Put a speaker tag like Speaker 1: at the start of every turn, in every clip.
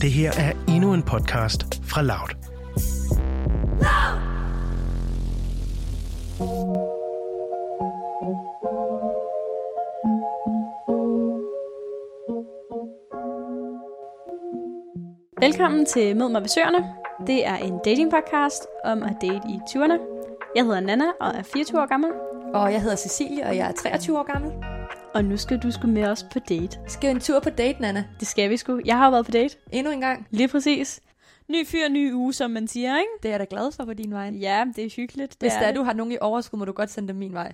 Speaker 1: Det her er endnu en podcast fra Loud.
Speaker 2: Velkommen til Mød mig ved Søerne. Det er en dating podcast om at date i 20'erne. Jeg hedder Nana og er 24 år gammel,
Speaker 3: Og jeg hedder Cecilie, og jeg er 23 år gammel.
Speaker 2: og nu skal du sgu med os på date.
Speaker 3: Skal vi en tur på date, Nana?
Speaker 2: Det skal vi sgu. Jeg har jo været på date.
Speaker 3: Endnu en gang.
Speaker 2: Lige præcis. Ny fyr, ny uge, som man siger, ikke?
Speaker 3: Det er jeg da glad for på din vej.
Speaker 2: Ja, det er hyggeligt. Det
Speaker 3: Hvis
Speaker 2: er
Speaker 3: der
Speaker 2: det.
Speaker 3: du har nogen i overskud, må du godt sende dem min vej.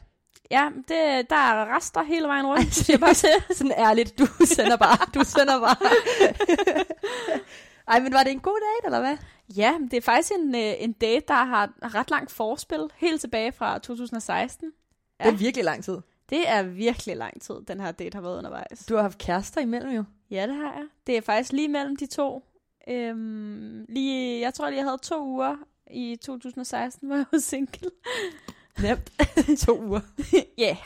Speaker 2: Ja, det, der er rester hele vejen rundt.
Speaker 3: Ej,
Speaker 2: siger jeg bare til.
Speaker 3: Sådan ærligt, du sender bare. Du sender bare. Ej, men var det en god date, eller hvad?
Speaker 2: Ja, det er faktisk en, øh, en date, der har ret langt forspil. Helt tilbage fra 2016.
Speaker 3: Ja. Det er virkelig lang tid.
Speaker 2: Det er virkelig lang tid, den her date har været undervejs.
Speaker 3: Du har haft kærester imellem jo.
Speaker 2: Ja, det har jeg. Det er faktisk lige mellem de to. Øhm, lige, jeg tror lige, jeg havde to uger i 2016, hvor jeg var single.
Speaker 3: Nemt. to uger.
Speaker 2: Ja,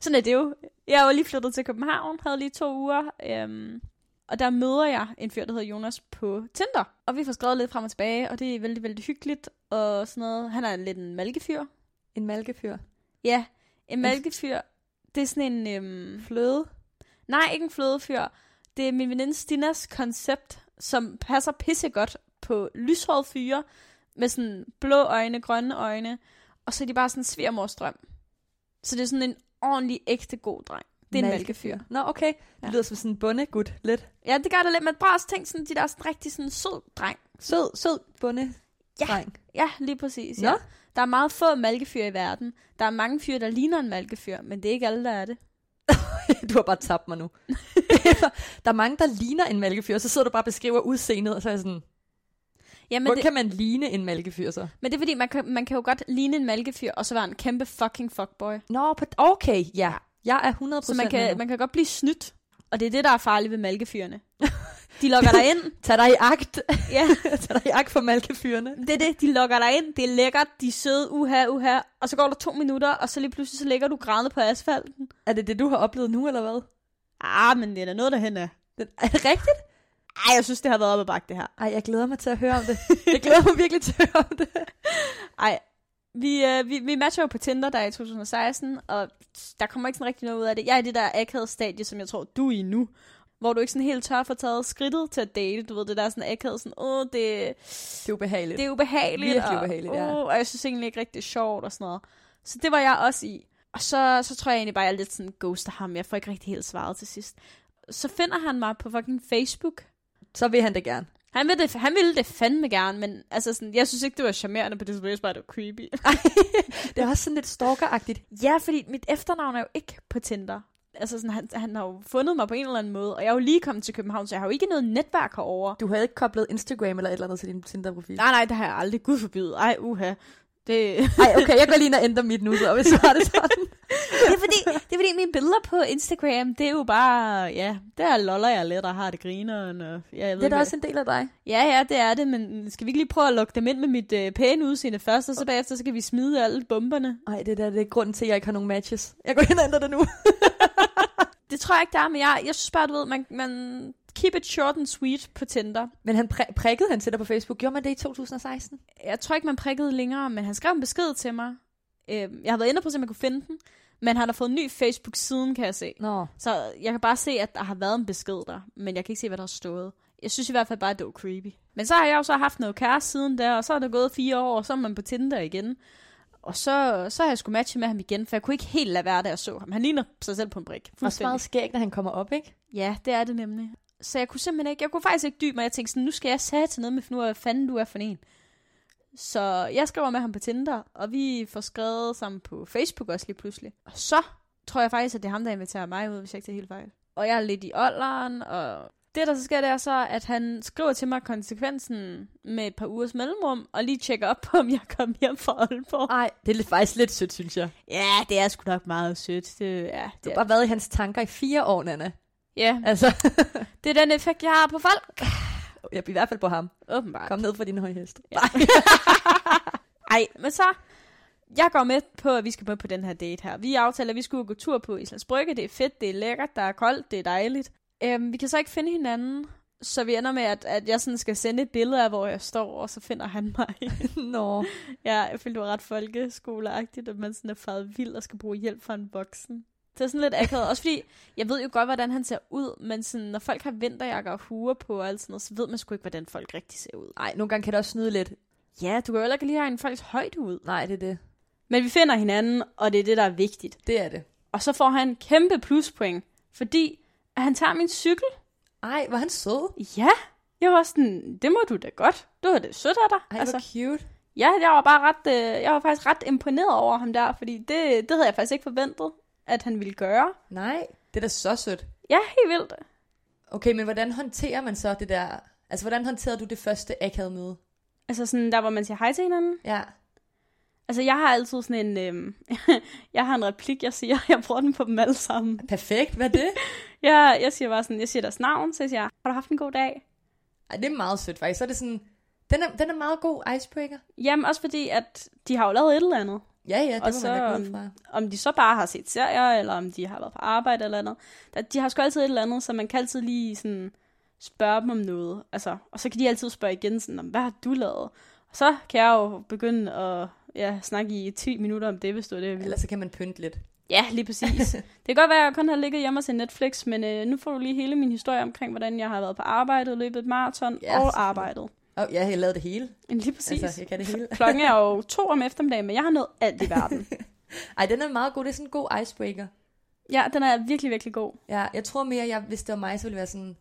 Speaker 2: sådan er det jo. Jeg var lige flyttet til København, havde lige to uger. Øhm, og der møder jeg en fyr, der hedder Jonas på Tinder. Og vi får skrevet lidt frem og tilbage, og det er vældig, vældig hyggeligt. Og sådan noget. Han er lidt en malkefyr.
Speaker 3: En malkefyr.
Speaker 2: Ja, en malkefyr. Det er sådan en... Øhm,
Speaker 3: Fløde.
Speaker 2: Nej, ikke en flødefyr. Det er min veninde Stinas koncept, som passer pissegodt på lyshårede fyre med sådan blå øjne, grønne øjne, og så er de bare sådan svigermorstrøm. Så det er sådan en ordentlig, ægte god dreng. Det er en malkefyr.
Speaker 3: Nå, okay. Det
Speaker 2: Ja.
Speaker 3: lyder som sådan en bondegud. Lidt.
Speaker 2: Ja, det gør det lidt, men bare også tænk sådan, de der er sådan rigtig sådan sød dreng.
Speaker 3: Sød, sød bonde.
Speaker 2: Ja.
Speaker 3: Dreng.
Speaker 2: Ja, lige præcis.
Speaker 3: Nå.
Speaker 2: Ja. Der er meget få malkefyr i verden. Der er mange fyre, der ligner en malkefyr, men det er ikke alle, der er det.
Speaker 3: Du har bare tabt mig nu. der er mange, der ligner en malkefyr, og så sidder du bare og beskriver udseendet, og så er jeg sådan,
Speaker 2: Ja, men
Speaker 3: Hvor
Speaker 2: det,
Speaker 3: kan man ligne en malkefyr så?
Speaker 2: men det er fordi, man kan, man kan jo godt ligne en malkefyr, og så være en kæmpe fucking fuckboy.
Speaker 3: Nå, på, okay, ja. Jeg er 100%
Speaker 2: Så man kan,
Speaker 3: man...
Speaker 2: man kan godt blive snydt. Og det er det, der er farligt ved malkefyrene. De lokker dig ind.
Speaker 3: Tag dig i agt.
Speaker 2: Ja,
Speaker 3: Tag dig i agt for malkefyrene.
Speaker 2: det er det. De lokker dig ind. Det er lækkert. De er søde. Uha, uha. Og så går der to minutter, og så lige pludselig så ligger du grædende på asfalten.
Speaker 3: Er det det, du har oplevet nu, eller hvad?
Speaker 2: Ah, men det er da noget derhen af.
Speaker 3: Det- Er det rigtigt?
Speaker 2: Ej, jeg synes, det har været op ad bakke, det her.
Speaker 3: Ej, jeg glæder mig til at høre om det. Jeg glæder mig virkelig til at høre om det.
Speaker 2: Ej, vi, øh, vi, vi matcher jo på Tinder der i 2016, og der kommer ikke sådan rigtig noget ud af det. Jeg er i det der akavede stadie, som jeg tror, du er i nu. Hvor du ikke sådan helt tør for taget skridtet til at date. Du ved, det der sådan akavet, sådan, åh, det,
Speaker 3: Det er
Speaker 2: Det
Speaker 3: ubehageligt. Det...
Speaker 2: er ubehageligt.
Speaker 3: Virkelig ubehageligt,
Speaker 2: og,
Speaker 3: ja.
Speaker 2: Uh, og jeg synes egentlig ikke rigtig, det er sjovt og sådan noget. Så det var jeg også i. Og så, så tror jeg egentlig bare, at jeg er lidt sådan ghoster ham. Jeg får ikke rigtig helt svaret til sidst. Så finder han mig på fucking Facebook.
Speaker 3: Så vil han det gerne.
Speaker 2: Han ville det, han ville det fandme gerne, men altså sådan, jeg synes ikke, det var charmerende på det, så jeg synes bare, det var creepy.
Speaker 3: Det er også sådan lidt stalkeragtigt.
Speaker 2: ja, fordi mit efternavn er jo ikke på Tinder. Altså sådan, han, han har jo fundet mig på en eller anden måde, og jeg er jo lige kommet til København, så jeg har jo ikke noget netværk herovre.
Speaker 3: Du havde ikke koblet Instagram eller et eller andet til din Tinder-profil.
Speaker 2: Nej, nej, det har jeg aldrig. Gud forbyde. Ej, uha. Det,
Speaker 3: Nej, okay, jeg går lige ind og ændrer mit nu, så hvis du har det sådan.
Speaker 2: det, er fordi, det er fordi, mine billeder på Instagram, det er jo bare, ja, der loller jeg lidt og har det grineren. Og, ja, jeg ved
Speaker 3: det er
Speaker 2: ikke,
Speaker 3: da også en del af dig.
Speaker 2: hvad- Ja, ja, det er det, men skal vi ikke lige prøve at lukke dem ind med mit øh, pæne udseende først, og så bagefter, så kan vi smide alle bomberne.
Speaker 3: Nej, det der det er grunden til, at jeg ikke har nogen matches. Jeg går ind og ændrer det nu.
Speaker 2: Det tror jeg ikke, der er, men jeg, jeg synes bare, du ved, man, man keep it short and sweet på Tinder.
Speaker 3: Men han pr- prikkede han til dig på Facebook. Gjorde man det i 2016?
Speaker 2: Jeg tror ikke, man prikkede længere, men han skrev en besked til mig. Øh, jeg har været inde på, så man kunne finde den, men han har fået en ny Facebook siden, kan jeg se.
Speaker 3: Nå.
Speaker 2: Så jeg kan bare se, at der har været en besked der, men jeg kan ikke se, hvad der har stået. Jeg synes i hvert fald bare, at det var creepy. Men så har jeg jo så haft noget kæreste siden der, og så er der gået fire år, og så er man på Tinder igen. Og så, så har jeg skulle matche med ham igen, for jeg kunne ikke helt lade være, da jeg så ham. Han ligner sig selv på en brik.
Speaker 3: Også meget skægt, når han kommer op, ikke?
Speaker 2: Ja, det er det nemlig. Så jeg kunne simpelthen ikke, jeg kunne faktisk ikke dybe mig. Jeg tænkte sådan, nu skal jeg sætte til noget med, for nu er hvad fanden du er for en. Så jeg skriver med ham på Tinder, og vi får skrevet sammen på Facebook også lige pludselig. Og så tror jeg faktisk, at det er ham, der inviterer mig ud, hvis jeg ikke tager helt fejl. Og jeg er lidt i ålderen, og det der så sker, det er så, at han skriver til mig konsekvensen med et par ugers mellemrum, og lige tjekker op på, om jeg kom hjem fra Aalborg.
Speaker 3: Nej, det er lidt- faktisk lidt sødt, synes jeg.
Speaker 2: Ja, det er sgu nok meget sødt. Det, ja,
Speaker 3: Du
Speaker 2: det
Speaker 3: har
Speaker 2: er.
Speaker 3: bare været i hans tanker i fire år, Nana.
Speaker 2: ja,
Speaker 3: Altså,
Speaker 2: det er den effekt, jeg har på folk.
Speaker 3: jeg i hvert fald på ham.
Speaker 2: Åbenbart.
Speaker 3: Kom ned fra din høje hest.
Speaker 2: Ja. Ej, men så... Jeg går med på, at vi skal med på den her date her. Vi aftaler, at vi skulle gå tur på Islands Brygge. Det er fedt, det er lækkert, der er koldt, det er dejligt. Øhm, vi kan så ikke finde hinanden. Så vi ender med, at, at jeg sådan skal sende et billede af, hvor jeg står, og så finder han mig.
Speaker 3: Nå.
Speaker 2: ja, jeg følte, det var ret folkeskoleagtigt, at man sådan er faret vild og skal bruge hjælp fra en voksen. Det er sådan lidt akavet. Også fordi, jeg ved jo godt, hvordan han ser ud, men sådan, når folk har vinterjakker og huer på og alt sådan noget, så ved man sgu ikke, hvordan folk rigtig ser ud.
Speaker 3: Nej, nogle gange kan det også snyde lidt.
Speaker 2: Ja, du kan jo heller ikke lige have en folks højde ud.
Speaker 3: Nej, det er det.
Speaker 2: Men vi finder hinanden, og det er det, der er vigtigt.
Speaker 3: Det er det.
Speaker 2: Og så får han kæmpe pluspoint, fordi at han tager min cykel.
Speaker 3: Ej, var han sød?
Speaker 2: Ja, jeg var sådan, det må du da godt. Du har det sødt af dig.
Speaker 3: Ej, altså, hvor cute.
Speaker 2: ja, jeg var bare ret, øh, jeg var faktisk ret imponeret over ham der, fordi det, det havde jeg faktisk ikke forventet, at han ville gøre.
Speaker 3: Nej, det er da så sødt.
Speaker 2: Ja, helt vildt.
Speaker 3: Okay, men hvordan håndterer man så det der... Altså, hvordan håndterede du det første akavede møde?
Speaker 2: Altså sådan der, hvor man siger hej til hinanden.
Speaker 3: Ja.
Speaker 2: Altså jeg har altid sådan en, øhm, jeg har en replik, jeg siger, jeg bruger den på dem alle sammen.
Speaker 3: Perfekt, hvad er det?
Speaker 2: Jeg, jeg siger bare sådan, jeg siger deres navn, så jeg siger, har du haft en god dag?
Speaker 3: Ej, det er meget sødt faktisk. Så er det sådan... Den er, den er meget god icebreaker.
Speaker 2: Jamen også fordi, at de har jo lavet et eller andet.
Speaker 3: Ja, ja, det
Speaker 2: Og
Speaker 3: må man da
Speaker 2: så,
Speaker 3: gå ud
Speaker 2: øhm,
Speaker 3: fra.
Speaker 2: Om de så bare har set serier, eller om de har været på arbejde eller andet. Der- De har sgu altid et eller andet, så man kan altid lige sådan spørge dem om noget. Altså, og så kan de altid spørge igen, sådan, om, hvad har du lavet? Og så kan jeg jo begynde at ja, snakke i 10 minutter om det, hvis du er det. jeg vil.
Speaker 3: Ellers så kan man pynte lidt.
Speaker 2: Ja, lige præcis. det kan godt være, at jeg kun har ligget hjemme og set Netflix, men øh, nu får du lige hele min historie omkring, hvordan jeg har været på arbejde, løbet et maraton
Speaker 3: Ja,
Speaker 2: ja, og
Speaker 3: selvfølgelig.
Speaker 2: arbejdet.
Speaker 3: Og ja, jeg lavede det hele.
Speaker 2: Lige præcis.
Speaker 3: Altså, jeg kan det hele.
Speaker 2: Klokken er jo to om eftermiddagen, men jeg har nået alt i verden.
Speaker 3: Ej, den er meget god. Det er sådan en god icebreaker.
Speaker 2: Ja, den er virkelig, virkelig god.
Speaker 3: Ja, jeg tror mere, jeg, hvis det var mig, så ville jeg være sådan,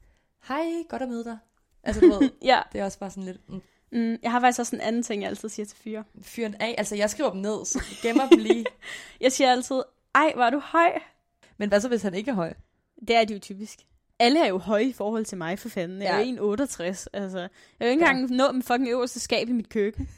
Speaker 3: hej, godt at møde dig. Altså, du ved,
Speaker 2: Ja,
Speaker 3: det er også bare sådan lidt, mm,
Speaker 2: mm, jeg har faktisk også en anden ting, jeg altid siger til fyre.
Speaker 3: fyren af. Altså, jeg skriver dem ned, så gemmer dem lige.
Speaker 2: Jeg siger altid, ej, hvor er du høj.
Speaker 3: Men hvad så, hvis han ikke er høj?
Speaker 2: Det er de jo typisk. Alle er jo høje i forhold til mig, for fanden. Jeg
Speaker 3: Ja.
Speaker 2: er jo 1,68. Altså, jeg vil ikke engang nå den fucking øverste skab i mit køkken.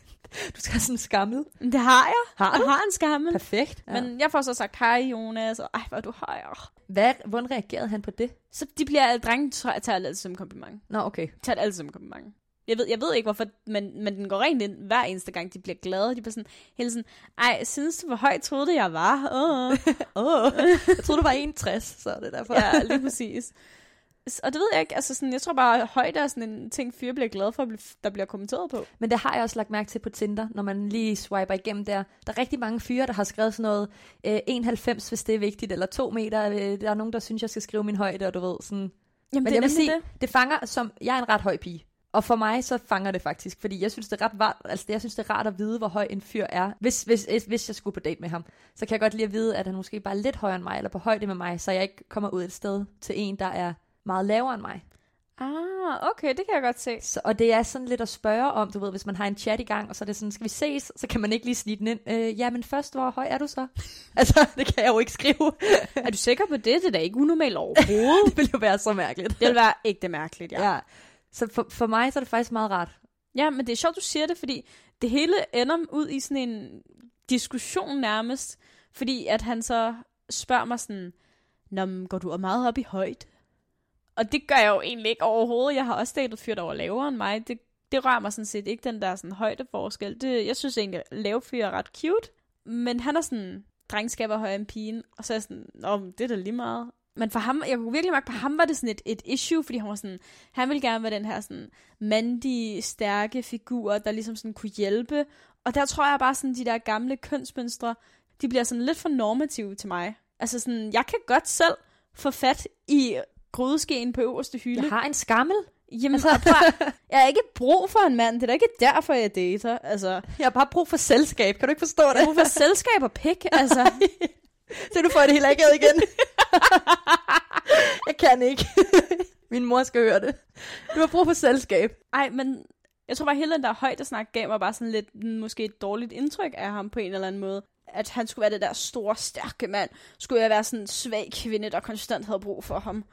Speaker 3: Du skal sådan skamme.
Speaker 2: Det har jeg.
Speaker 3: Har
Speaker 2: Jeg har en skammel.
Speaker 3: Perfekt. Ja. Men
Speaker 2: Men jeg får så sagt, hej Jonas, og ej, hvor er du høj. Åh.
Speaker 3: hvad, hvordan reagerede han på det?
Speaker 2: Så de bliver alle drenge, tror jeg, tager det altid som en kompliment.
Speaker 3: Nå, okay.
Speaker 2: Tager det altid som en kompliment. Jeg ved, jeg ved ikke, hvorfor, men, men den går rent ind hver eneste gang, de bliver glade. De bliver sådan, hele sådan, ej, synes du, hvor høj troede det, jeg var? Åh.
Speaker 3: Oh, jeg troede, du var 61, så er det derfor.
Speaker 2: Ja, lige præcis. S- Og det ved jeg ikke, altså sådan, jeg tror bare, at højde er sådan en ting, fyre bliver glade for, at blive- der bliver kommenteret på.
Speaker 3: Men det har jeg også lagt mærke til på Tinder, når man lige swiper igennem der. Der er rigtig mange fyre, der har skrevet sådan noget øh, 91, hvis det er vigtigt, eller 2 meter. Øh, der er nogen, der synes, jeg skal skrive min højde, og du ved, sådan.
Speaker 2: Jamen,
Speaker 3: Men jeg vil sige, det. det fanger som, jeg er en ret høj pige. Og for mig så fanger det faktisk, fordi jeg synes, det er ret rart, altså, jeg synes, det er rart at vide, hvor høj en fyr er. Hvis, hvis, hvis- hvis jeg skulle på date med ham, så kan jeg godt lide at vide, at han måske bare er lidt højere end mig, eller på højde med mig, så jeg ikke kommer ud et sted til en, der er meget lavere end mig.
Speaker 2: Ah, okay, det kan jeg godt se.
Speaker 3: Så, og det er sådan lidt at spørge om, du ved, hvis man har en chat i gang, og så er det sådan, skal vi ses? Så kan man ikke lige snige den ind. Øh, ja, men først, hvor høj er du så? altså, det kan jeg jo ikke skrive.
Speaker 2: Er du sikker på det? Det er da ikke unormalt overhovedet.
Speaker 3: det ville jo være så mærkeligt.
Speaker 2: det vil være ægte mærkeligt, ja.
Speaker 3: Ja. ja. Så for, for mig så er det faktisk meget rart.
Speaker 2: Ja, men det er sjovt, du siger det, fordi det hele ender ud i sådan en diskussion nærmest, fordi at han så spørger mig sådan, Nå, men går du og meget op i højt? Og det gør jeg jo egentlig ikke overhovedet. Jeg har også datet fyrt over lavere end mig. Det, det rører mig sådan set ikke, den der sådan højdeforskel. Det, jeg synes egentlig, at lave fyre er ret cute. Men han er sådan, drengskab er højere end pigen. Og så er jeg sådan, Nå, men det er da lige meget. Men for ham, jeg kunne virkelig mærke, på ham var det sådan et, et issue, fordi han var sådan, han ville gerne være den her sådan mandige, stærke figurer, der ligesom sådan kunne hjælpe. Og der tror jeg bare sådan, de der gamle kønsmønstre, de bliver sådan lidt for normative til mig. Altså sådan, jeg kan godt selv få fat i grydeskeen på øverste hylde.
Speaker 3: Jeg har en skammel.
Speaker 2: Jamen,
Speaker 3: Altså-
Speaker 2: altså... prøv, at- jeg har ikke brug for en mand. Det er da ikke derfor, jeg dater. Altså,
Speaker 3: Jeg har bare brug for selskab. Kan du ikke forstå
Speaker 2: jeg har brug for selskab og pik. Altså,
Speaker 3: Så du får det hele akavet igen. jeg kan ikke. Min mor skal høre det. Du har brug for selskab.
Speaker 2: ej, men jeg tror bare, hele den der højdesnak gav mig bare sådan lidt, mm, måske et dårligt indtryk af ham på en eller anden måde. At han skulle være det der store, stærke mand. Skulle jeg være sådan en svag kvinde, der konstant havde brug for ham.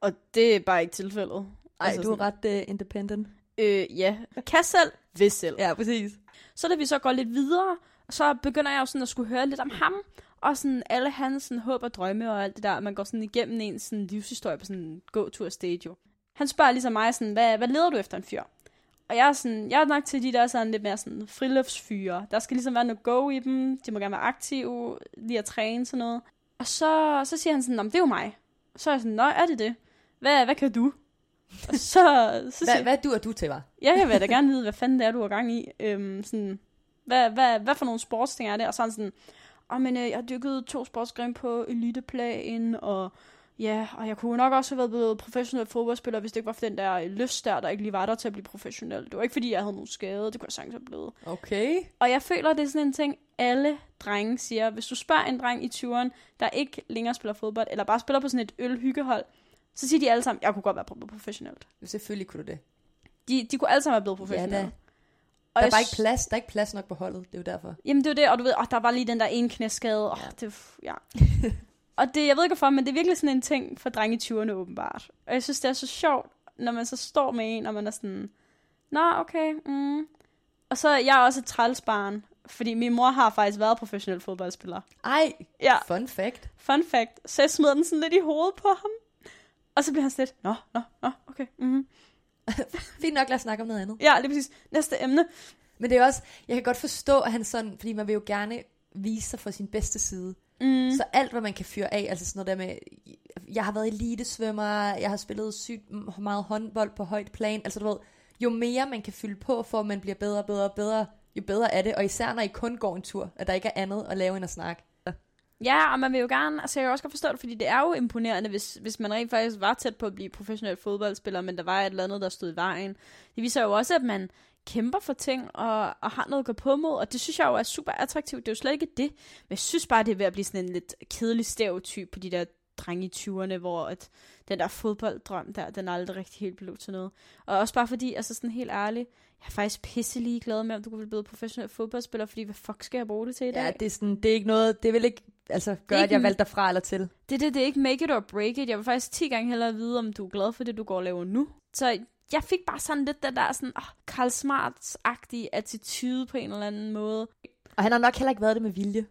Speaker 2: Og det er bare ikke tilfældet.
Speaker 3: Ej, altså, du er
Speaker 2: sådan,
Speaker 3: ret uh, independent.
Speaker 2: Øh, ja. Kan selv, vil selv.
Speaker 3: Ja, præcis.
Speaker 2: Så da vi så går lidt videre, så begynder jeg jo sådan at skulle høre lidt om ham, og sådan alle hans sådan håb og drømme og alt det der, og man går sådan igennem en sådan livshistorie på sådan en gåtur stage jo. Han spørger ligesom mig sådan, hvad, hvad leder du efter en fyr? Og jeg er, sådan, jeg er nok til de der sådan lidt mere sådan friluftsfyre. Der skal ligesom være noget go i dem, de må gerne være aktive, lige at træne sådan noget. Og så, så siger han sådan, "Nå, men det er jo mig. Så er jeg sådan, nå, er det det? Hvad, hvad kan du? Og så, så
Speaker 3: Hvad,
Speaker 2: siger,
Speaker 3: hvad dur du til, var?
Speaker 2: jeg vil da gerne vide, hvad fanden det er, du har gang i. Øhm, sådan, hvad, hvad, hvad for nogle sportsting er det? Og sådan sådan, oh, men, øh, jeg har dykket to sportsgrene på eliteplagen, og ja, og jeg kunne nok også have været blevet professionel fodboldspiller, hvis det ikke var for den der øh, lyst der, der ikke lige var der til at blive professionel. Det var ikke, fordi jeg havde nogen skade, det kunne jeg sagtens have blevet.
Speaker 3: Okay.
Speaker 2: Og jeg føler, det er sådan en ting, alle drenge siger. Hvis du spørger en dreng i 20'eren, der ikke længere spiller fodbold, eller bare spiller på sådan et ølhyggehold, så siger de alle sammen, jeg kunne godt være blevet professionelt.
Speaker 3: Selvfølgelig kunne du det.
Speaker 2: De, de kunne alle sammen være blevet
Speaker 3: Ja,
Speaker 2: professionelle.
Speaker 3: da.
Speaker 2: Og
Speaker 3: Der
Speaker 2: jeg
Speaker 3: er bare ikke
Speaker 2: sy-
Speaker 3: plads, der er ikke plads nok på holdet, det er jo derfor.
Speaker 2: Jamen det er jo det, og du ved, oh, der var lige den der ene knæskade, oh,
Speaker 3: Ja.
Speaker 2: det, f- ja. og det, jeg ved ikke hvorfor, men det er virkelig sådan en ting for drenge i 20'erne åbenbart. Og jeg synes, det er så sjovt, når man så står med en, og man er sådan, nå, okay, mm. Og så er jeg også et trælsbarn, fordi min mor har faktisk været professionel fodboldspiller.
Speaker 3: Ej,
Speaker 2: Ja,
Speaker 3: fun fact.
Speaker 2: fun fact. Så jeg smider den sådan lidt i hovedet på ham. Og så bliver han sådan lidt, nå, nå, nå, okay. Mm.
Speaker 3: Fint nok, lad os snakke om noget andet.
Speaker 2: Ja, lige præcis. Næste emne.
Speaker 3: Men det er også, jeg kan godt forstå, at han sådan, fordi man vil jo gerne vise sig fra sin bedste side.
Speaker 2: Mm.
Speaker 3: Så alt, hvad man kan fyre af, altså sådan noget der med, jeg har været elitesvømmer, jeg har spillet sygt m- meget håndbold på højt plan, altså du ved, jo mere man kan fylde på, for at man bliver bedre og bedre og bedre, jo bedre er det, og især når I kun går en tur, at der ikke er andet at lave end at snakke.
Speaker 2: Ja, og man vil jo gerne, altså jeg kan også godt forstå det, fordi det er jo imponerende, hvis, hvis man rent faktisk var tæt på at blive professionel fodboldspiller, men der var et eller andet, der stod i vejen. Det viser jo også, at man kæmper for ting og, og har noget at gå på mod, og det synes jeg jo er super attraktivt. Det er jo slet ikke det, men jeg synes bare, det er ved at blive sådan en lidt kedelig stereotyp på de der drenge i 20'erne, hvor at den der fodbolddrøm der, den aldrig rigtig helt blev til noget. Og også bare fordi, altså sådan helt ærligt, jeg er faktisk pisselig glad med, om du kunne blive blevet professionel fodboldspiller, fordi hvad fuck skal jeg bruge det til i dag?
Speaker 3: Ja, det er sådan, det er ikke noget, det vil ikke altså, gøre,
Speaker 2: ikke
Speaker 3: at jeg
Speaker 2: en-
Speaker 3: valgte dig fra eller til.
Speaker 2: Det er det, det er ikke make it or break it. Jeg vil faktisk 10 gange hellere vide, om du er glad for det, du går og laver nu. Så jeg fik bare sådan lidt den der sådan, oh, Karl Smarts-agtige attitude på en eller anden måde.
Speaker 3: Og han har nok heller ikke været det med vilje.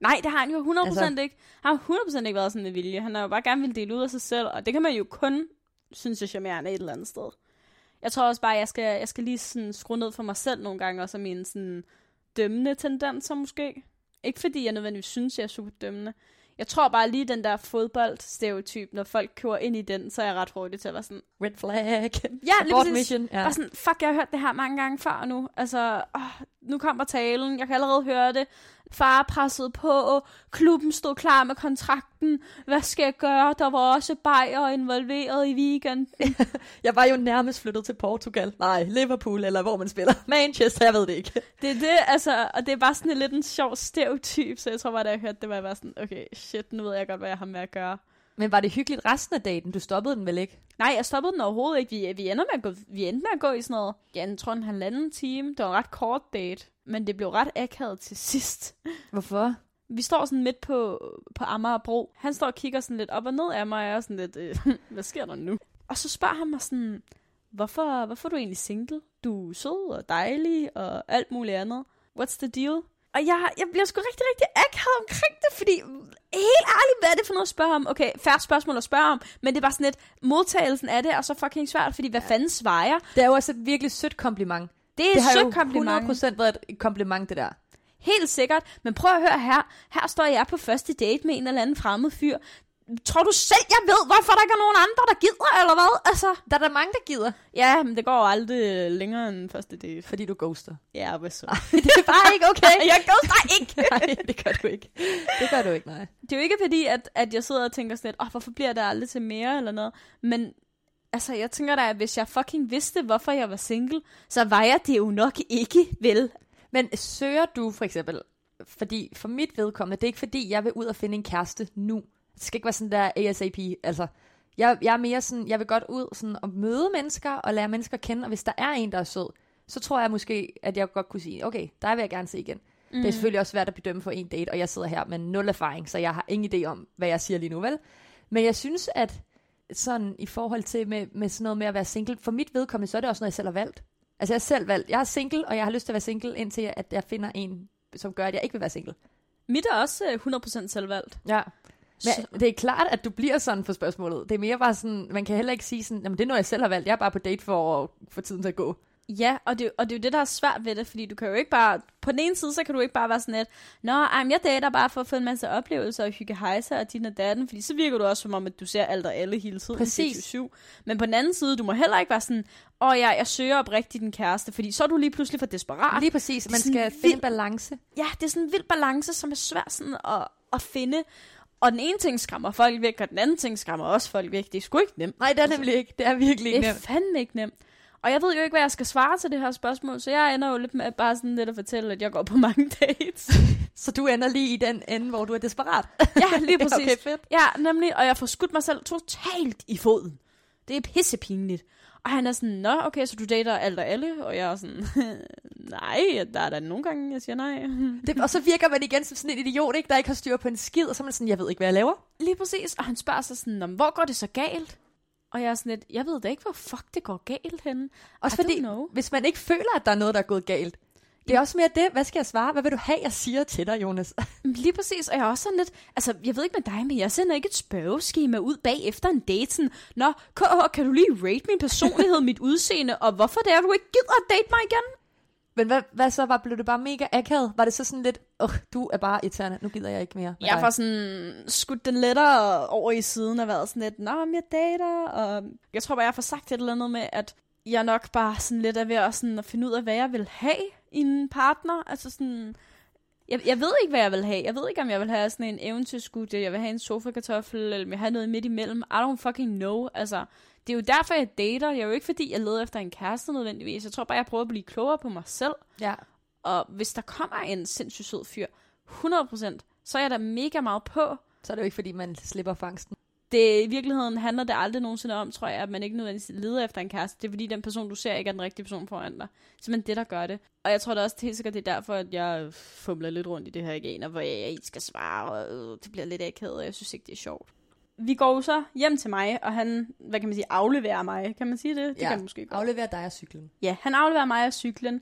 Speaker 2: Nej, det har han jo 100% altså...
Speaker 3: Altså-
Speaker 2: ikke. Han har 100% ikke været sådan med vilje. Han har jo bare gerne vil dele ud af sig selv, og det kan man jo kun synes er charmerende et eller andet sted. Jeg tror også bare, at jeg skal, jeg skal lige sådan skrue ned for mig selv nogle gange, og så mine sådan dømmende tendenser måske. Ikke fordi jeg nødvendigvis synes, jeg er super dømmende. Jeg tror bare lige den der fodboldstereotyp, når folk kører ind i den, så er jeg ret hurtig til at være sådan,
Speaker 3: Red flag.
Speaker 2: ja, lige
Speaker 3: Abort
Speaker 2: præcis.
Speaker 3: mission. Ja.
Speaker 2: Bare sådan, fuck, jeg har hørt det her mange gange før nu. Altså, åh, nu kommer talen, jeg kan allerede høre det. Far pressede på, klubben stod klar med kontrakten. Hvad skal jeg gøre? Der var også Bayer involveret i weekenden.
Speaker 3: Jeg var jo nærmest flyttet til Portugal. Nej, Liverpool, eller hvor man spiller. Manchester, jeg ved det ikke.
Speaker 2: Det er det, altså, og det er bare sådan en lidt en sjov stereotyp, så jeg tror bare, da jeg hørte det, var jeg bare sådan, okay, shit, nu ved jeg godt, hvad jeg har med at gøre.
Speaker 3: Men var det hyggeligt resten af daten? Du stoppede den vel ikke?
Speaker 2: Nej, jeg stoppede den overhovedet ikke. Vi, vi, ender med at gå, vi endte med at gå i sådan noget, ja, jeg tror en halvanden time. Det var en ret kort date, men det blev ret akavet til sidst.
Speaker 3: Hvorfor?
Speaker 2: Vi står sådan midt på, på Amagerbro. Han står og kigger sådan lidt op og ned af mig, og jeg er sådan lidt, øh, hvad sker der nu? Og så spørger han mig sådan, hvorfor, hvorfor er du egentlig single? Du er sød og dejlig og alt muligt andet. What's the deal? Og jeg, jeg bliver sgu rigtig, rigtig akavet omkring det, fordi helt ærligt, hvad er det for noget at spørge om? Okay, færre spørgsmål at spørge om, men det er bare sådan lidt modtagelsen af det, og så fucking svært, fordi hvad fanden svarer jeg?
Speaker 3: Det er jo også et virkelig sødt kompliment.
Speaker 2: Det er
Speaker 3: det har
Speaker 2: et sødt
Speaker 3: jo
Speaker 2: kompliment.
Speaker 3: 100% været et kompliment, det der.
Speaker 2: Helt sikkert. Men prøv at høre her. Her står jeg på første date med en eller anden fremmed fyr. Tror du selv, jeg ved, hvorfor der ikke er nogen andre, der gider, eller hvad? Altså,
Speaker 3: Der er der mange, der gider.
Speaker 2: ja, men det går jo aldrig øh, længere end første date.
Speaker 3: Fordi du ghoster.
Speaker 2: Ja, hvad så?
Speaker 3: det er bare ikke okay.
Speaker 2: Ah. jeg ghoster dig ikke!
Speaker 3: nej, det gør du ikke. Det gør du ikke, nej.
Speaker 2: det er jo ikke fordi, at, at jeg sidder og tænker sådan lidt, oh, hvorfor bliver der aldrig til mere, eller noget. Men altså, jeg tænker da, at hvis jeg fucking vidste, hvorfor jeg var single, så var jeg det jo nok ikke, vel?
Speaker 3: Men søger du for eksempel, fordi for mit vedkommende, det er ikke fordi, jeg vil ud og finde en kæreste nu. Det skal ikke være sådan der ASAP, altså. Jeg, jeg er mere sådan, jeg vil godt ud sådan og møde mennesker og lære mennesker at kende, og hvis der er en, der er sød, så tror jeg måske, at jeg godt kunne sige, okay, der vil jeg gerne se igen. Mm. Det er selvfølgelig også svært at bedømme for en date, og jeg sidder her med nul erfaring, så jeg har ingen idé om, hvad jeg siger lige nu, vel? Men jeg synes, at sådan i forhold til med, med sådan noget med at være single, for mit vedkommende, så er det også noget, jeg selv har valgt. Altså jeg har selv valgt, jeg er single, og jeg har lyst til at være single, indtil at jeg finder en, som gør, at jeg ikke vil være single.
Speaker 2: Mit er også øh, 100% selvvalgt.
Speaker 3: Ja.
Speaker 2: Så-
Speaker 3: Men det er klart, at du bliver sådan for spørgsmålet. Det er mere bare sådan, man kan heller ikke sige sådan, jamen det er noget, jeg selv har valgt, jeg er bare på date for at få tiden til at gå.
Speaker 2: Ja, og det, og det er jo det, der er svært ved det, fordi du kan jo ikke bare... På den ene side, så kan du ikke bare være sådan lidt, Nå, ej, men jeg dater bare for at få en masse oplevelser og hygge hejser og din og datten, fordi så virker du også som om, at du ser alt og alle hele tiden.
Speaker 3: Præcis.
Speaker 2: 24/7. Men på den anden side, du må heller ikke være sådan, åh ja, jeg søger oprigtigt din kæreste, fordi så er du lige pludselig for desperat.
Speaker 3: Lige præcis, man
Speaker 2: sådan
Speaker 3: skal
Speaker 2: vildt-
Speaker 3: finde en balance.
Speaker 2: ja, det er sådan en vild balance, som er svær sådan at, at finde. Og den ene ting skræmmer folk væk, og den anden ting skræmmer også folk væk. Det er sgu ikke nemt.
Speaker 3: Nej, det er nemlig ikke. Det er virkelig
Speaker 2: Det er fandme ikke nemt. Og jeg ved jo ikke, hvad jeg skal svare til det her spørgsmål, så jeg ender jo lidt med bare sådan lidt at fortælle, at jeg går på mange dates.
Speaker 3: Så du ender lige i den ende, hvor du er desperat.
Speaker 2: ja, lige præcis.
Speaker 3: Okay, fedt.
Speaker 2: Ja, nemlig, og jeg får skudt mig selv totalt i foden. Det er pissepinligt. Og han er sådan, nå, okay, så du dater alt og alle? Og jeg er sådan, nej, der er da nogle gange, jeg siger nej.
Speaker 3: Det, og så virker man igen som sådan en idiot, ikke, der ikke har styr på en skid, og så er man sådan, jeg ved ikke, hvad jeg laver.
Speaker 2: Lige præcis, og han spørger sig sådan, "Nå, men hvor går det så galt? Og jeg er sådan lidt, jeg ved da ikke, hvor fuck det går galt henne.
Speaker 3: Også
Speaker 2: I
Speaker 3: fordi,
Speaker 2: don't know.
Speaker 3: hvis man ikke føler, at der er noget, der er gået galt, det er også mere det, hvad skal jeg svare? Hvad vil du have, jeg siger til dig, Jonas?
Speaker 2: Men Lige præcis, og jeg er også sådan lidt, altså jeg ved ikke med dig, men jeg sender ikke et spørgeskema ud bag efter en date, sådan, Nå, KH, kan du lige rate min personlighed, mit udseende, og hvorfor det er, du ikke gider at date mig igen?
Speaker 3: Men hvad, hvad så? Var, blev det bare mega akavet? Var det så sådan lidt, åh, du er bare irriterende, nu gider jeg ikke mere med
Speaker 2: Jeg
Speaker 3: dig."
Speaker 2: får sådan skudt den lettere over i siden og været sådan lidt, nå, men jeg dater, og jeg tror bare, jeg får sagt et eller andet med, at jeg nok bare sådan lidt er ved at, sådan at finde ud af, hvad jeg vil have i en partner. Altså sådan, jeg, jeg ved ikke, hvad jeg vil have. Jeg ved ikke, om jeg vil have sådan en eventyrskudie, jeg vil have en sofakartoffel, eller om jeg vil have noget midt imellem. I don't fucking know. Altså, det er jo derfor, jeg dater. Jeg er jo ikke, fordi jeg leder efter en kæreste nødvendigvis. Jeg tror bare, jeg prøver at blive klogere på mig selv.
Speaker 3: Ja.
Speaker 2: Og hvis der kommer en sindssygt sød fyr, 100%, så er jeg da mega meget på.
Speaker 3: Så er det jo ikke, fordi man slipper fangsten.
Speaker 2: Det, I virkeligheden handler det aldrig nogensinde om, tror jeg, at man ikke nødvendigvis leder efter en kæreste. Det er fordi, den person, du ser, ikke er den rigtige person foran dig. Simpelthen det, der gør det. Og jeg tror da også helt sikkert, det er derfor, at jeg fumler lidt rundt i det her igen, og hvor jeg, jeg skal svare, og øh, det bliver lidt akavet, og jeg synes ikke, det er sjovt. Vi går jo så hjem til mig, og han, hvad kan man sige, afleverer mig. Kan man sige det? Det
Speaker 3: Ja.
Speaker 2: kan man måske godt.
Speaker 3: Aflever dig af cyklen.
Speaker 2: Ja, han afleverer mig og cyklen.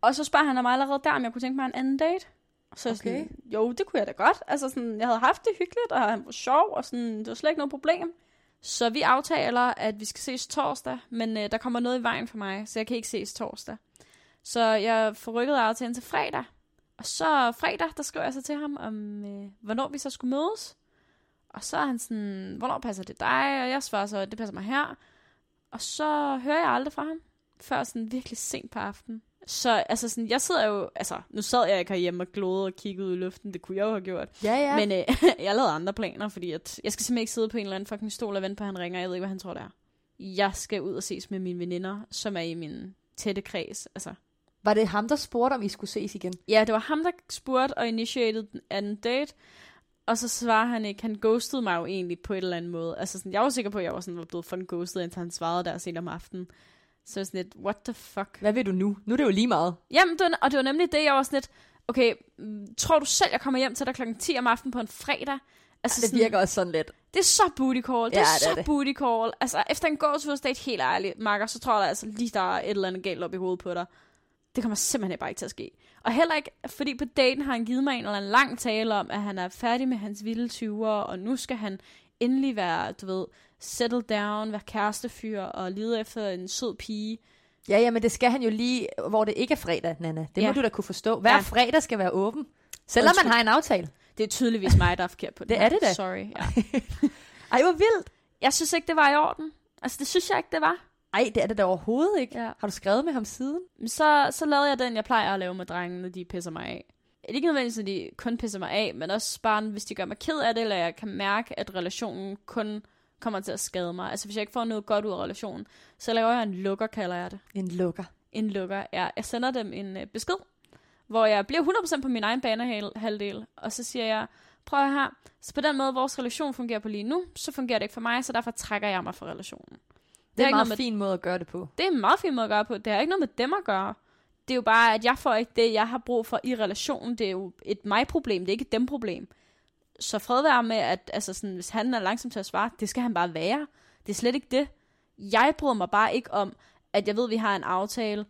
Speaker 2: Og så spørger han mig allerede der, om jeg kunne tænke mig en anden date. Så okay. sådan, jo, det kunne jeg da godt. Altså sådan, jeg havde haft det hyggeligt, og han var sjov, og sådan, det var slet ikke noget problem. Så vi aftaler, at vi skal ses torsdag, men øh, der kommer noget i vejen for mig, så jeg kan ikke ses torsdag. Så jeg får rykket aftalen til fredag. Og så fredag, der skriver jeg så til ham, om øh, hvornår vi så skulle mødes. Og så er han sådan, hvornår passer det dig? Og jeg svarer så, det passer mig her. Og så hører jeg aldrig fra ham før sådan virkelig sent på aftenen. Så altså sådan, jeg sidder jo, altså nu sad jeg ikke herhjemme og glodede og kiggede ud i luften, det kunne jeg jo have gjort.
Speaker 3: Ja, ja.
Speaker 2: Ja.
Speaker 3: Men,
Speaker 2: Men øh, jeg lavede andre planer, fordi at, jeg skal simpelthen ikke sidde på en eller anden fucking stol og vente på, at han ringer, jeg ved ikke, hvad han tror, det er. Jeg skal ud og ses med mine veninder, som er i min tætte kreds. Altså,
Speaker 3: var det ham, der spurgte, om I skulle ses igen?
Speaker 2: ja, det var ham, der spurgte og initiated den anden date, og så svarer han ikke. Han ghostede mig jo egentlig på et eller andet måde. Altså, sådan, jeg var sikker på, at jeg var sådan, var blevet fucking ghostet, indtil han svarede der sent om aftenen. Så jeg var sådan lidt, what the fuck?
Speaker 3: Hvad vil du nu? Nu er det jo lige meget.
Speaker 2: Jamen, det var, og det var nemlig det, jeg var sådan lidt, okay, mm, tror du selv, jeg kommer hjem til dig klokken 10 om aftenen på en fredag? Altså,
Speaker 3: Det
Speaker 2: sådan,
Speaker 3: virker også sådan lidt.
Speaker 2: det er så booty call, det
Speaker 3: Ja,
Speaker 2: er
Speaker 3: det er
Speaker 2: så
Speaker 3: det.
Speaker 2: booty call. Altså, efter en gåtursdate, helt ærligt, Marker, så tror jeg altså lige, der er et eller andet galt op i hovedet på dig. Det kommer simpelthen bare ikke til at ske. Og heller ikke, fordi på daten har han givet mig en eller anden lang tale om, at han er færdig med hans vilde 20'er, og nu skal han endelig være, du ved, settle down, være kærestefyr og lede efter en sød pige.
Speaker 3: Ja, ja, men det skal han jo lige, hvor det ikke er fredag, Nana. Det
Speaker 2: Ja.
Speaker 3: må du da kunne forstå. Hver
Speaker 2: Ja.
Speaker 3: fredag skal være åben. Selvom man
Speaker 2: Undskyld.
Speaker 3: har en aftale.
Speaker 2: Det er tydeligvis mig, der er forkert på det
Speaker 3: Det
Speaker 2: her.
Speaker 3: er det da.
Speaker 2: Sorry, ja.
Speaker 3: Ej, hvor vildt.
Speaker 2: Jeg synes ikke, det var i orden. Altså, det synes jeg ikke, det var.
Speaker 3: Ej, det er det da overhovedet ikke.
Speaker 2: Ja.
Speaker 3: Har du skrevet med ham siden?
Speaker 2: Men så, så lavede jeg den, jeg plejer at lave med drengene, når de pisser mig af. Ikke nødvendigvis, at de kun pisser mig af, men også bare, hvis de gør mig ked af det, eller jeg kan mærke, at relationen kun kommer til at skade mig. Altså, hvis jeg ikke får noget godt ud af relationen, så laver jeg en lukker, kalder jeg det.
Speaker 3: En lukker.
Speaker 2: En lukker. Jeg, jeg sender dem en øh, besked, hvor jeg bliver 100% på min egen banehalvdel, og så siger jeg, prøv at høre her, så på den måde, vores relation fungerer på lige nu, så fungerer det ikke for mig, så derfor trækker jeg mig fra relationen.
Speaker 3: Det er
Speaker 2: ikke
Speaker 3: en
Speaker 2: noget med-
Speaker 3: meget fin måde at gøre det på.
Speaker 2: Det er en meget fin måde at gøre på. Det har ikke noget med dem at gøre. Det er jo bare, at jeg får ikke det, jeg har brug for i relationen. Det er jo et mig-problem, det er ikke et dem-problem. Så fred være med, at altså sådan, hvis han er langsom til at svare, det skal han bare være. Det er slet ikke det. Jeg bryder mig bare ikke om, at jeg ved, at vi har en aftale,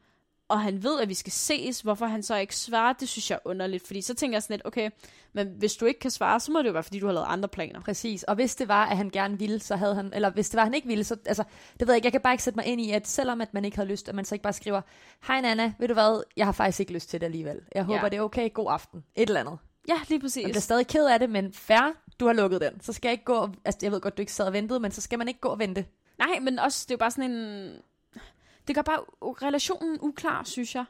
Speaker 2: og han ved, at vi skal ses, hvorfor han så ikke svarer, det synes jeg er underligt. Fordi så tænker jeg sådan lidt, okay, men hvis du ikke kan svare, så må det jo være, fordi du har lavet andre planer.
Speaker 3: Præcis, og hvis det var, at han gerne ville, så havde han, eller hvis det var, at han ikke ville, så, altså, det ved jeg ikke, jeg kan bare ikke sætte mig ind i, at selvom at man ikke havde lyst, at man så ikke bare skriver, hej Nana, ved du hvad, jeg har faktisk ikke lyst til det alligevel. Jeg håber,
Speaker 2: Ja.
Speaker 3: det er okay, god aften, et eller andet.
Speaker 2: Ja, lige
Speaker 3: Jeg
Speaker 2: præcis.
Speaker 3: bliver stadig ked af det, men fair, du har lukket den. Så skal jeg ikke gå, og, altså jeg ved godt, du ikke sad og ventede, men så skal man ikke gå og vente.
Speaker 2: Nej, men også, det er jo bare sådan en... Det gør bare u- relationen uklar, synes jeg.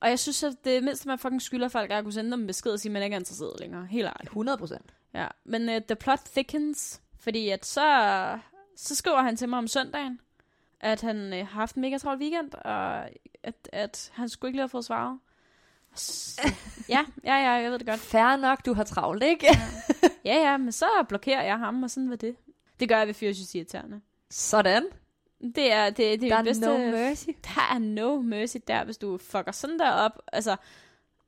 Speaker 2: Og jeg synes, at det mindste, man fucking skylder folk, er at kunne sende dem en besked og sige, at man ikke er interesseret længere. Helt ærligt.
Speaker 3: 100 procent.
Speaker 2: Ja, men uh, the plot thickens, fordi at så, så skriver han til mig om søndagen, at han uh, har haft en mega travl weekend, og at, at han skulle ikke lige have fået svaret. Så- Ja, ja, ja, jeg ved det godt.
Speaker 3: Fair nok, du har travlt, ikke?
Speaker 2: Ja, ja, men så blokerer jeg ham, og sådan var det. Det gør jeg ved fyrsys irriterende.
Speaker 3: Sådan.
Speaker 2: Det er, det, det er
Speaker 3: Der
Speaker 2: min
Speaker 3: er
Speaker 2: bedste...
Speaker 3: no mercy.
Speaker 2: der er no mercy der, hvis du fucker sådan der op. Altså,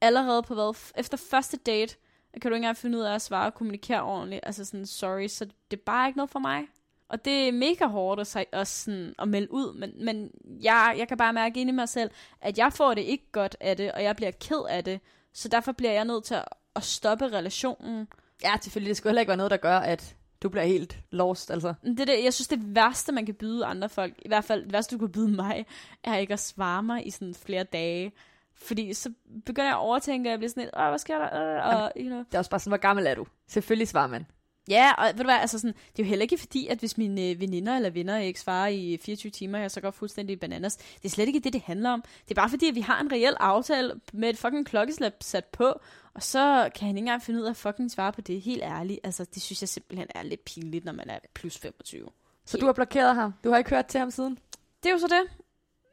Speaker 2: allerede på hvad? F- Efter første date, kan du ikke engang finde ud af at svare og kommunikere ordentligt. Altså sådan, sorry, så det er bare ikke noget for mig. Og det er mega hårdt at, sig- også sådan, at melde ud, men, men jeg, jeg kan bare mærke ind i mig selv, at jeg får det ikke godt af det, og jeg bliver ked af det. Så derfor bliver jeg nødt til at, at stoppe relationen.
Speaker 3: Ja, selvfølgelig, det skulle heller ikke være noget, der gør, at du bliver helt lost, altså.
Speaker 2: Men Det er det, jeg synes, det værste, man kan byde andre folk, i hvert fald det værste, du kan byde mig, er ikke at svare mig i sådan flere dage. Fordi så begynder jeg at overtænke, og jeg bliver sådan lidt, åh, hvad sker der? Øh, Og, you know.
Speaker 3: Det er også bare sådan, hvor gammel er du? Selvfølgelig svarer man.
Speaker 2: Ja, og ved du hvad, altså sådan, det er jo heller ikke fordi, at hvis mine øh, veninder eller venner ikke svarer i 24 timer, jeg så går fuldstændig bananas. Det er slet ikke det, det handler om. Det er bare fordi, at vi har en reel aftale med et fucking klokkeslap sat på, og så kan han ikke engang finde ud af at fucking svare på det, helt ærligt. Altså, det synes jeg simpelthen er lidt pinligt, når man er plus 25.
Speaker 3: Så du har blokeret ham? Du har ikke hørt til ham siden?
Speaker 2: Det er jo så det.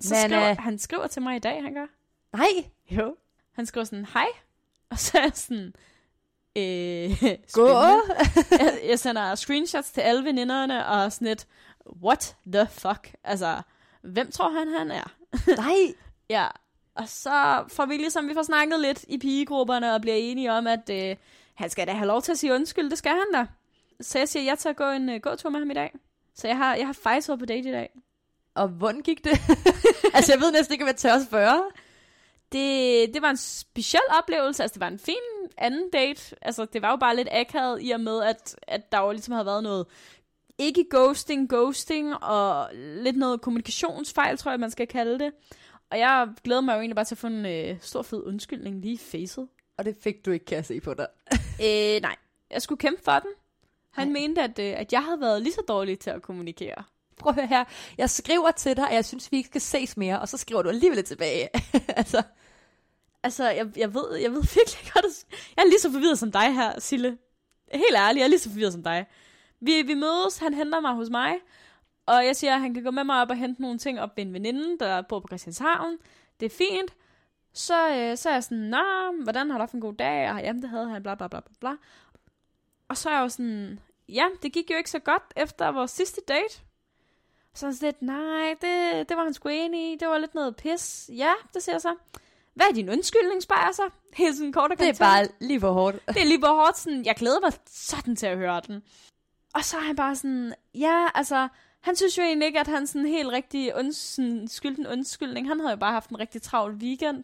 Speaker 2: Så
Speaker 3: Men,
Speaker 2: Men, skriver,
Speaker 3: øh,
Speaker 2: han skriver til mig i dag, han gør.
Speaker 3: Nej.
Speaker 2: Jo. Han skriver sådan, hej. Og så er jeg sådan, øh,
Speaker 3: Gå.
Speaker 2: spændende. jeg, jeg sender screenshots til alle veninderne, og sådan et, what the fuck? Altså, hvem tror han, han er?
Speaker 3: Nej.
Speaker 2: Ja. Og så får vi ligesom, vi får snakket lidt i pigegrupperne, og bliver enige om, at øh, han skal da have lov til at sige undskyld, det skal han da. Så jeg siger, jeg tager gå en øh, gåtur med ham i dag. Så jeg har, jeg har faktisk været på date i dag.
Speaker 3: Og hvordan gik det? altså, jeg ved næsten ikke, hvad jeg tør at spørge.
Speaker 2: det, det var en speciel oplevelse, altså det var en fin anden date, altså det var jo bare lidt akavet i og med, at, at der jo ligesom havde været noget ikke ghosting, ghosting og lidt noget kommunikationsfejl, tror jeg, man skal kalde det. Og jeg glæder mig jo egentlig bare til at få en øh, stor fed undskyldning lige i facet.
Speaker 3: Og det fik du ikke, kan jeg se på dig.
Speaker 2: Øh, nej, jeg skulle kæmpe for den. Han
Speaker 3: Nej.
Speaker 2: nej. mente, at, øh, at jeg havde været lige så dårlig til at kommunikere.
Speaker 3: Prøv at høre her. Jeg skriver til dig, at jeg synes, vi ikke skal ses mere, og så skriver du alligevel tilbage. altså,
Speaker 2: Altså, jeg, jeg, ved, jeg ved virkelig ikke, hvad der Jeg er lige så forvirret som dig her, Sille. Helt ærligt, jeg er lige så forvirret som dig. Vi, vi mødes, han henter mig hos mig, og jeg siger, at han kan gå med mig op og hente nogle ting op ved en veninde, der bor på Christianshavn. Det er fint. Så, øh, så er jeg sådan, nå, hvordan har du haft en god dag? Og jamen, det havde han, bla bla bla bla bla. Og så er jeg jo sådan, ja, det gik jo ikke så godt efter vores sidste date. Så er han sådan lidt, nej, det, det var han sgu enig i, det var lidt noget pis. Ja, det siger jeg så. Hvad er din undskyldning, spørger jeg så? Helt sådan kort og
Speaker 3: det er
Speaker 2: kontant.
Speaker 3: bare lige for hårdt.
Speaker 2: Det er lige på hårdt sådan, jeg glæder mig sådan til at høre den. Og så er han bare sådan, ja, altså, han synes jo egentlig ikke, at han sådan helt rigtig unds- sådan skyldte en undskyldning. Han havde jo bare haft en rigtig travl weekend,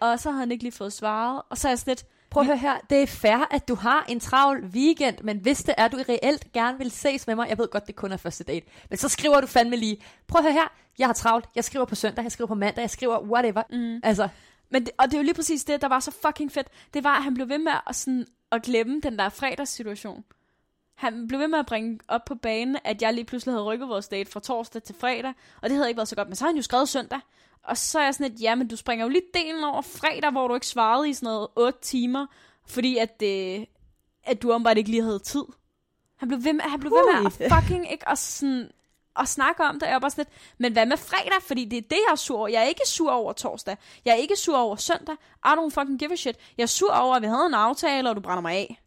Speaker 2: og så havde han ikke lige fået svaret. Og så er jeg sådan lidt,
Speaker 3: Prøv at høre her. Det er fair, at du har en travl weekend, men hvis det er, du reelt gerne vil ses med mig, jeg ved godt, det kun er første date, men så skriver du fandme lige, prøv at høre her, jeg har travlt, jeg skriver på søndag, jeg skriver på mandag, jeg skriver whatever. Mm. Altså,
Speaker 2: Men det, og det er jo lige præcis det, der var så fucking fedt. Det var, at han blev ved med at, sådan, at glemme den der fredagssituation. Han blev ved med at bringe op på banen, at jeg lige pludselig havde rykket vores date fra torsdag til fredag, og det havde ikke været så godt, men så har han jo skrevet søndag. Og så er jeg sådan lidt, ja, men du springer jo lige delen over fredag, hvor du ikke svarede i sådan noget 8 timer, fordi at, øh, at du åbenbart ikke lige havde tid. Han blev ved med, han blev ved med
Speaker 3: Ui.
Speaker 2: at fucking ikke og sådan, og snakke om det, og jeg var bare sådan lidt, men hvad med fredag? Fordi det er det, jeg er sur over. Jeg er ikke sur over torsdag. Jeg er ikke sur over søndag. I don't fucking give a shit. Jeg er sur over, at vi havde en aftale, og du brænder mig af.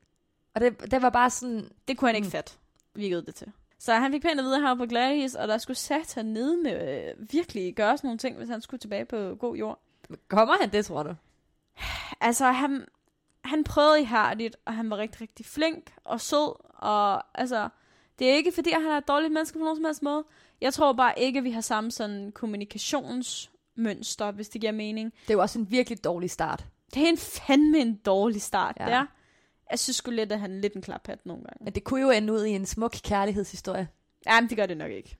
Speaker 3: og det, det var bare sådan,
Speaker 2: Det kunne han ikke fatte, virkede det til. Så han fik pænt at vide, at han var på Gladys, og der skulle satan nede med øh, virkelig gøre sådan nogle ting, hvis han skulle tilbage på god jord.
Speaker 3: kommer han det, tror du?
Speaker 2: Altså, han, han prøvede ihærdigt, og han var rigtig, rigtig flink og sød, og altså, det er ikke fordi, at han er et dårligt menneske på nogen som helst måde. Jeg tror bare ikke, at vi har samme sådan kommunikations mønster, hvis det giver mening.
Speaker 3: Det er jo også en virkelig dårlig start.
Speaker 2: Det er en fandme en dårlig start,
Speaker 3: Ja.
Speaker 2: ja. der. Jeg synes sgu lidt, at han er lidt en klaphat nogle gange.
Speaker 3: Men det kunne jo ende ud i en smuk kærlighedshistorie.
Speaker 2: Jamen, det gør det nok ikke.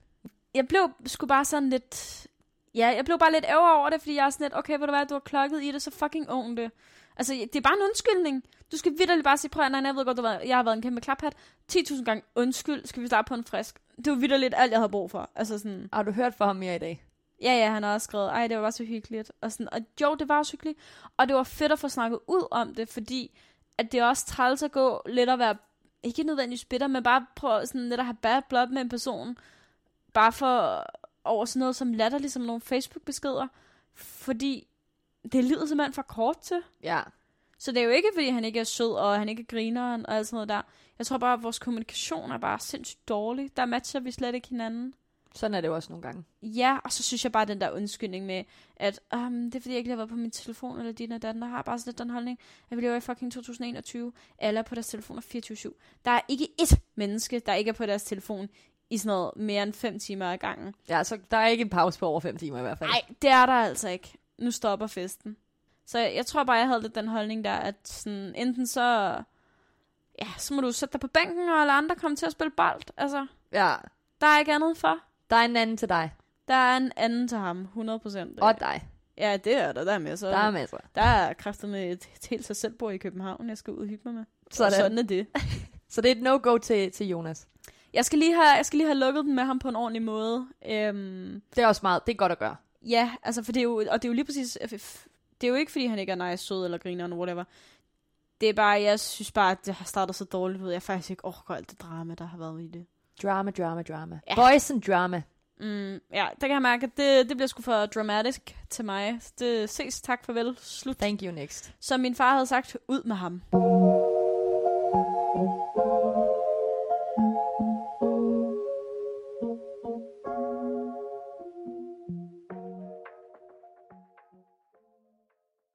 Speaker 2: Jeg blev sgu bare sådan lidt... Ja, jeg blev bare lidt ærger over det, fordi jeg er sådan lidt, okay, ved du hvad, du har klokket i det, så fucking own det. Altså, det er bare en undskyldning. Du skal vidderligt bare sige, prøv at høre, nej, jeg ved godt, du har været, jeg har været en kæmpe klaphat. 10.000 gange undskyld, skal vi starte på en frisk. Det var vidderligt alt, jeg havde brug for. Altså sådan...
Speaker 3: Har du hørt fra ham mere i dag?
Speaker 2: Ja, ja, han har også skrevet, ej, det var bare så hyggeligt. Og, sådan, og jo, det var også hyggeligt. Og det var fedt at få snakket ud om det, fordi at det er også træls at gå lidt at være, ikke nødvendigvis bitter, men bare prøve sådan lidt at have bad blood med en person. Bare for over sådan noget som latter, ligesom nogle Facebook-beskeder. Fordi det er livet simpelthen for kort til.
Speaker 3: Ja.
Speaker 2: Så det er jo ikke, fordi han ikke er sød, og han ikke er grineren, og alt sådan noget der. Jeg tror bare, at vores kommunikation er bare sindssygt dårlig. Der matcher vi slet ikke hinanden.
Speaker 3: Sådan er det jo også nogle gange.
Speaker 2: Ja, og så synes jeg bare den der undskyldning med, at um, det er fordi, jeg ikke lige har været på min telefon, eller din og datten, der har bare sådan lidt den holdning, at vi lever i fucking 2021, alle er på deres telefoner 24-7. Der er ikke ét menneske, der ikke er på deres telefon i sådan noget mere end 5 timer ad gangen.
Speaker 3: Ja, så der er ikke en pause på over fem timer i hvert fald.
Speaker 2: Nej, det er der altså ikke. Nu stopper festen. Så jeg, jeg tror bare, jeg havde lidt den holdning der, at sådan, enten så... Ja, så må du sætte dig på bænken, og alle andre komme til at spille bold. Altså,
Speaker 3: Ja.
Speaker 2: der er ikke andet for.
Speaker 3: Der er en anden til dig.
Speaker 2: Der er en anden til ham, 100%.
Speaker 3: Og dig.
Speaker 2: Ja, det er der, der er med. Så
Speaker 3: Der er masser.
Speaker 2: Der er kræfterne et, et helt sig selv bor i København, jeg skal ud og hygge mig med. Og
Speaker 3: Sådan.
Speaker 2: sådan er det.
Speaker 3: Så det er et no-go til, til Jonas.
Speaker 2: Jeg skal, lige have, jeg skal lige have lukket den med ham på en ordentlig måde. Øhm,
Speaker 3: Det er også meget. Det er godt at gøre.
Speaker 2: ja, altså, for det er jo, og det er jo lige præcis... øh, Det er jo ikke, fordi han ikke er nice, sød eller griner eller whatever. Det er bare, jeg synes bare, at det har startet så dårligt ud. Jeg faktisk ikke orker alt det drama, der har været i det.
Speaker 3: Drama, drama, drama.
Speaker 2: Ja.
Speaker 3: Boys and drama.
Speaker 2: Mm, ja, der kan jeg mærke, at det, det bliver sgu for dramatisk til mig. Det ses, tak, farvel, slut.
Speaker 3: Thank you next.
Speaker 2: Som min far havde sagt, ud med ham.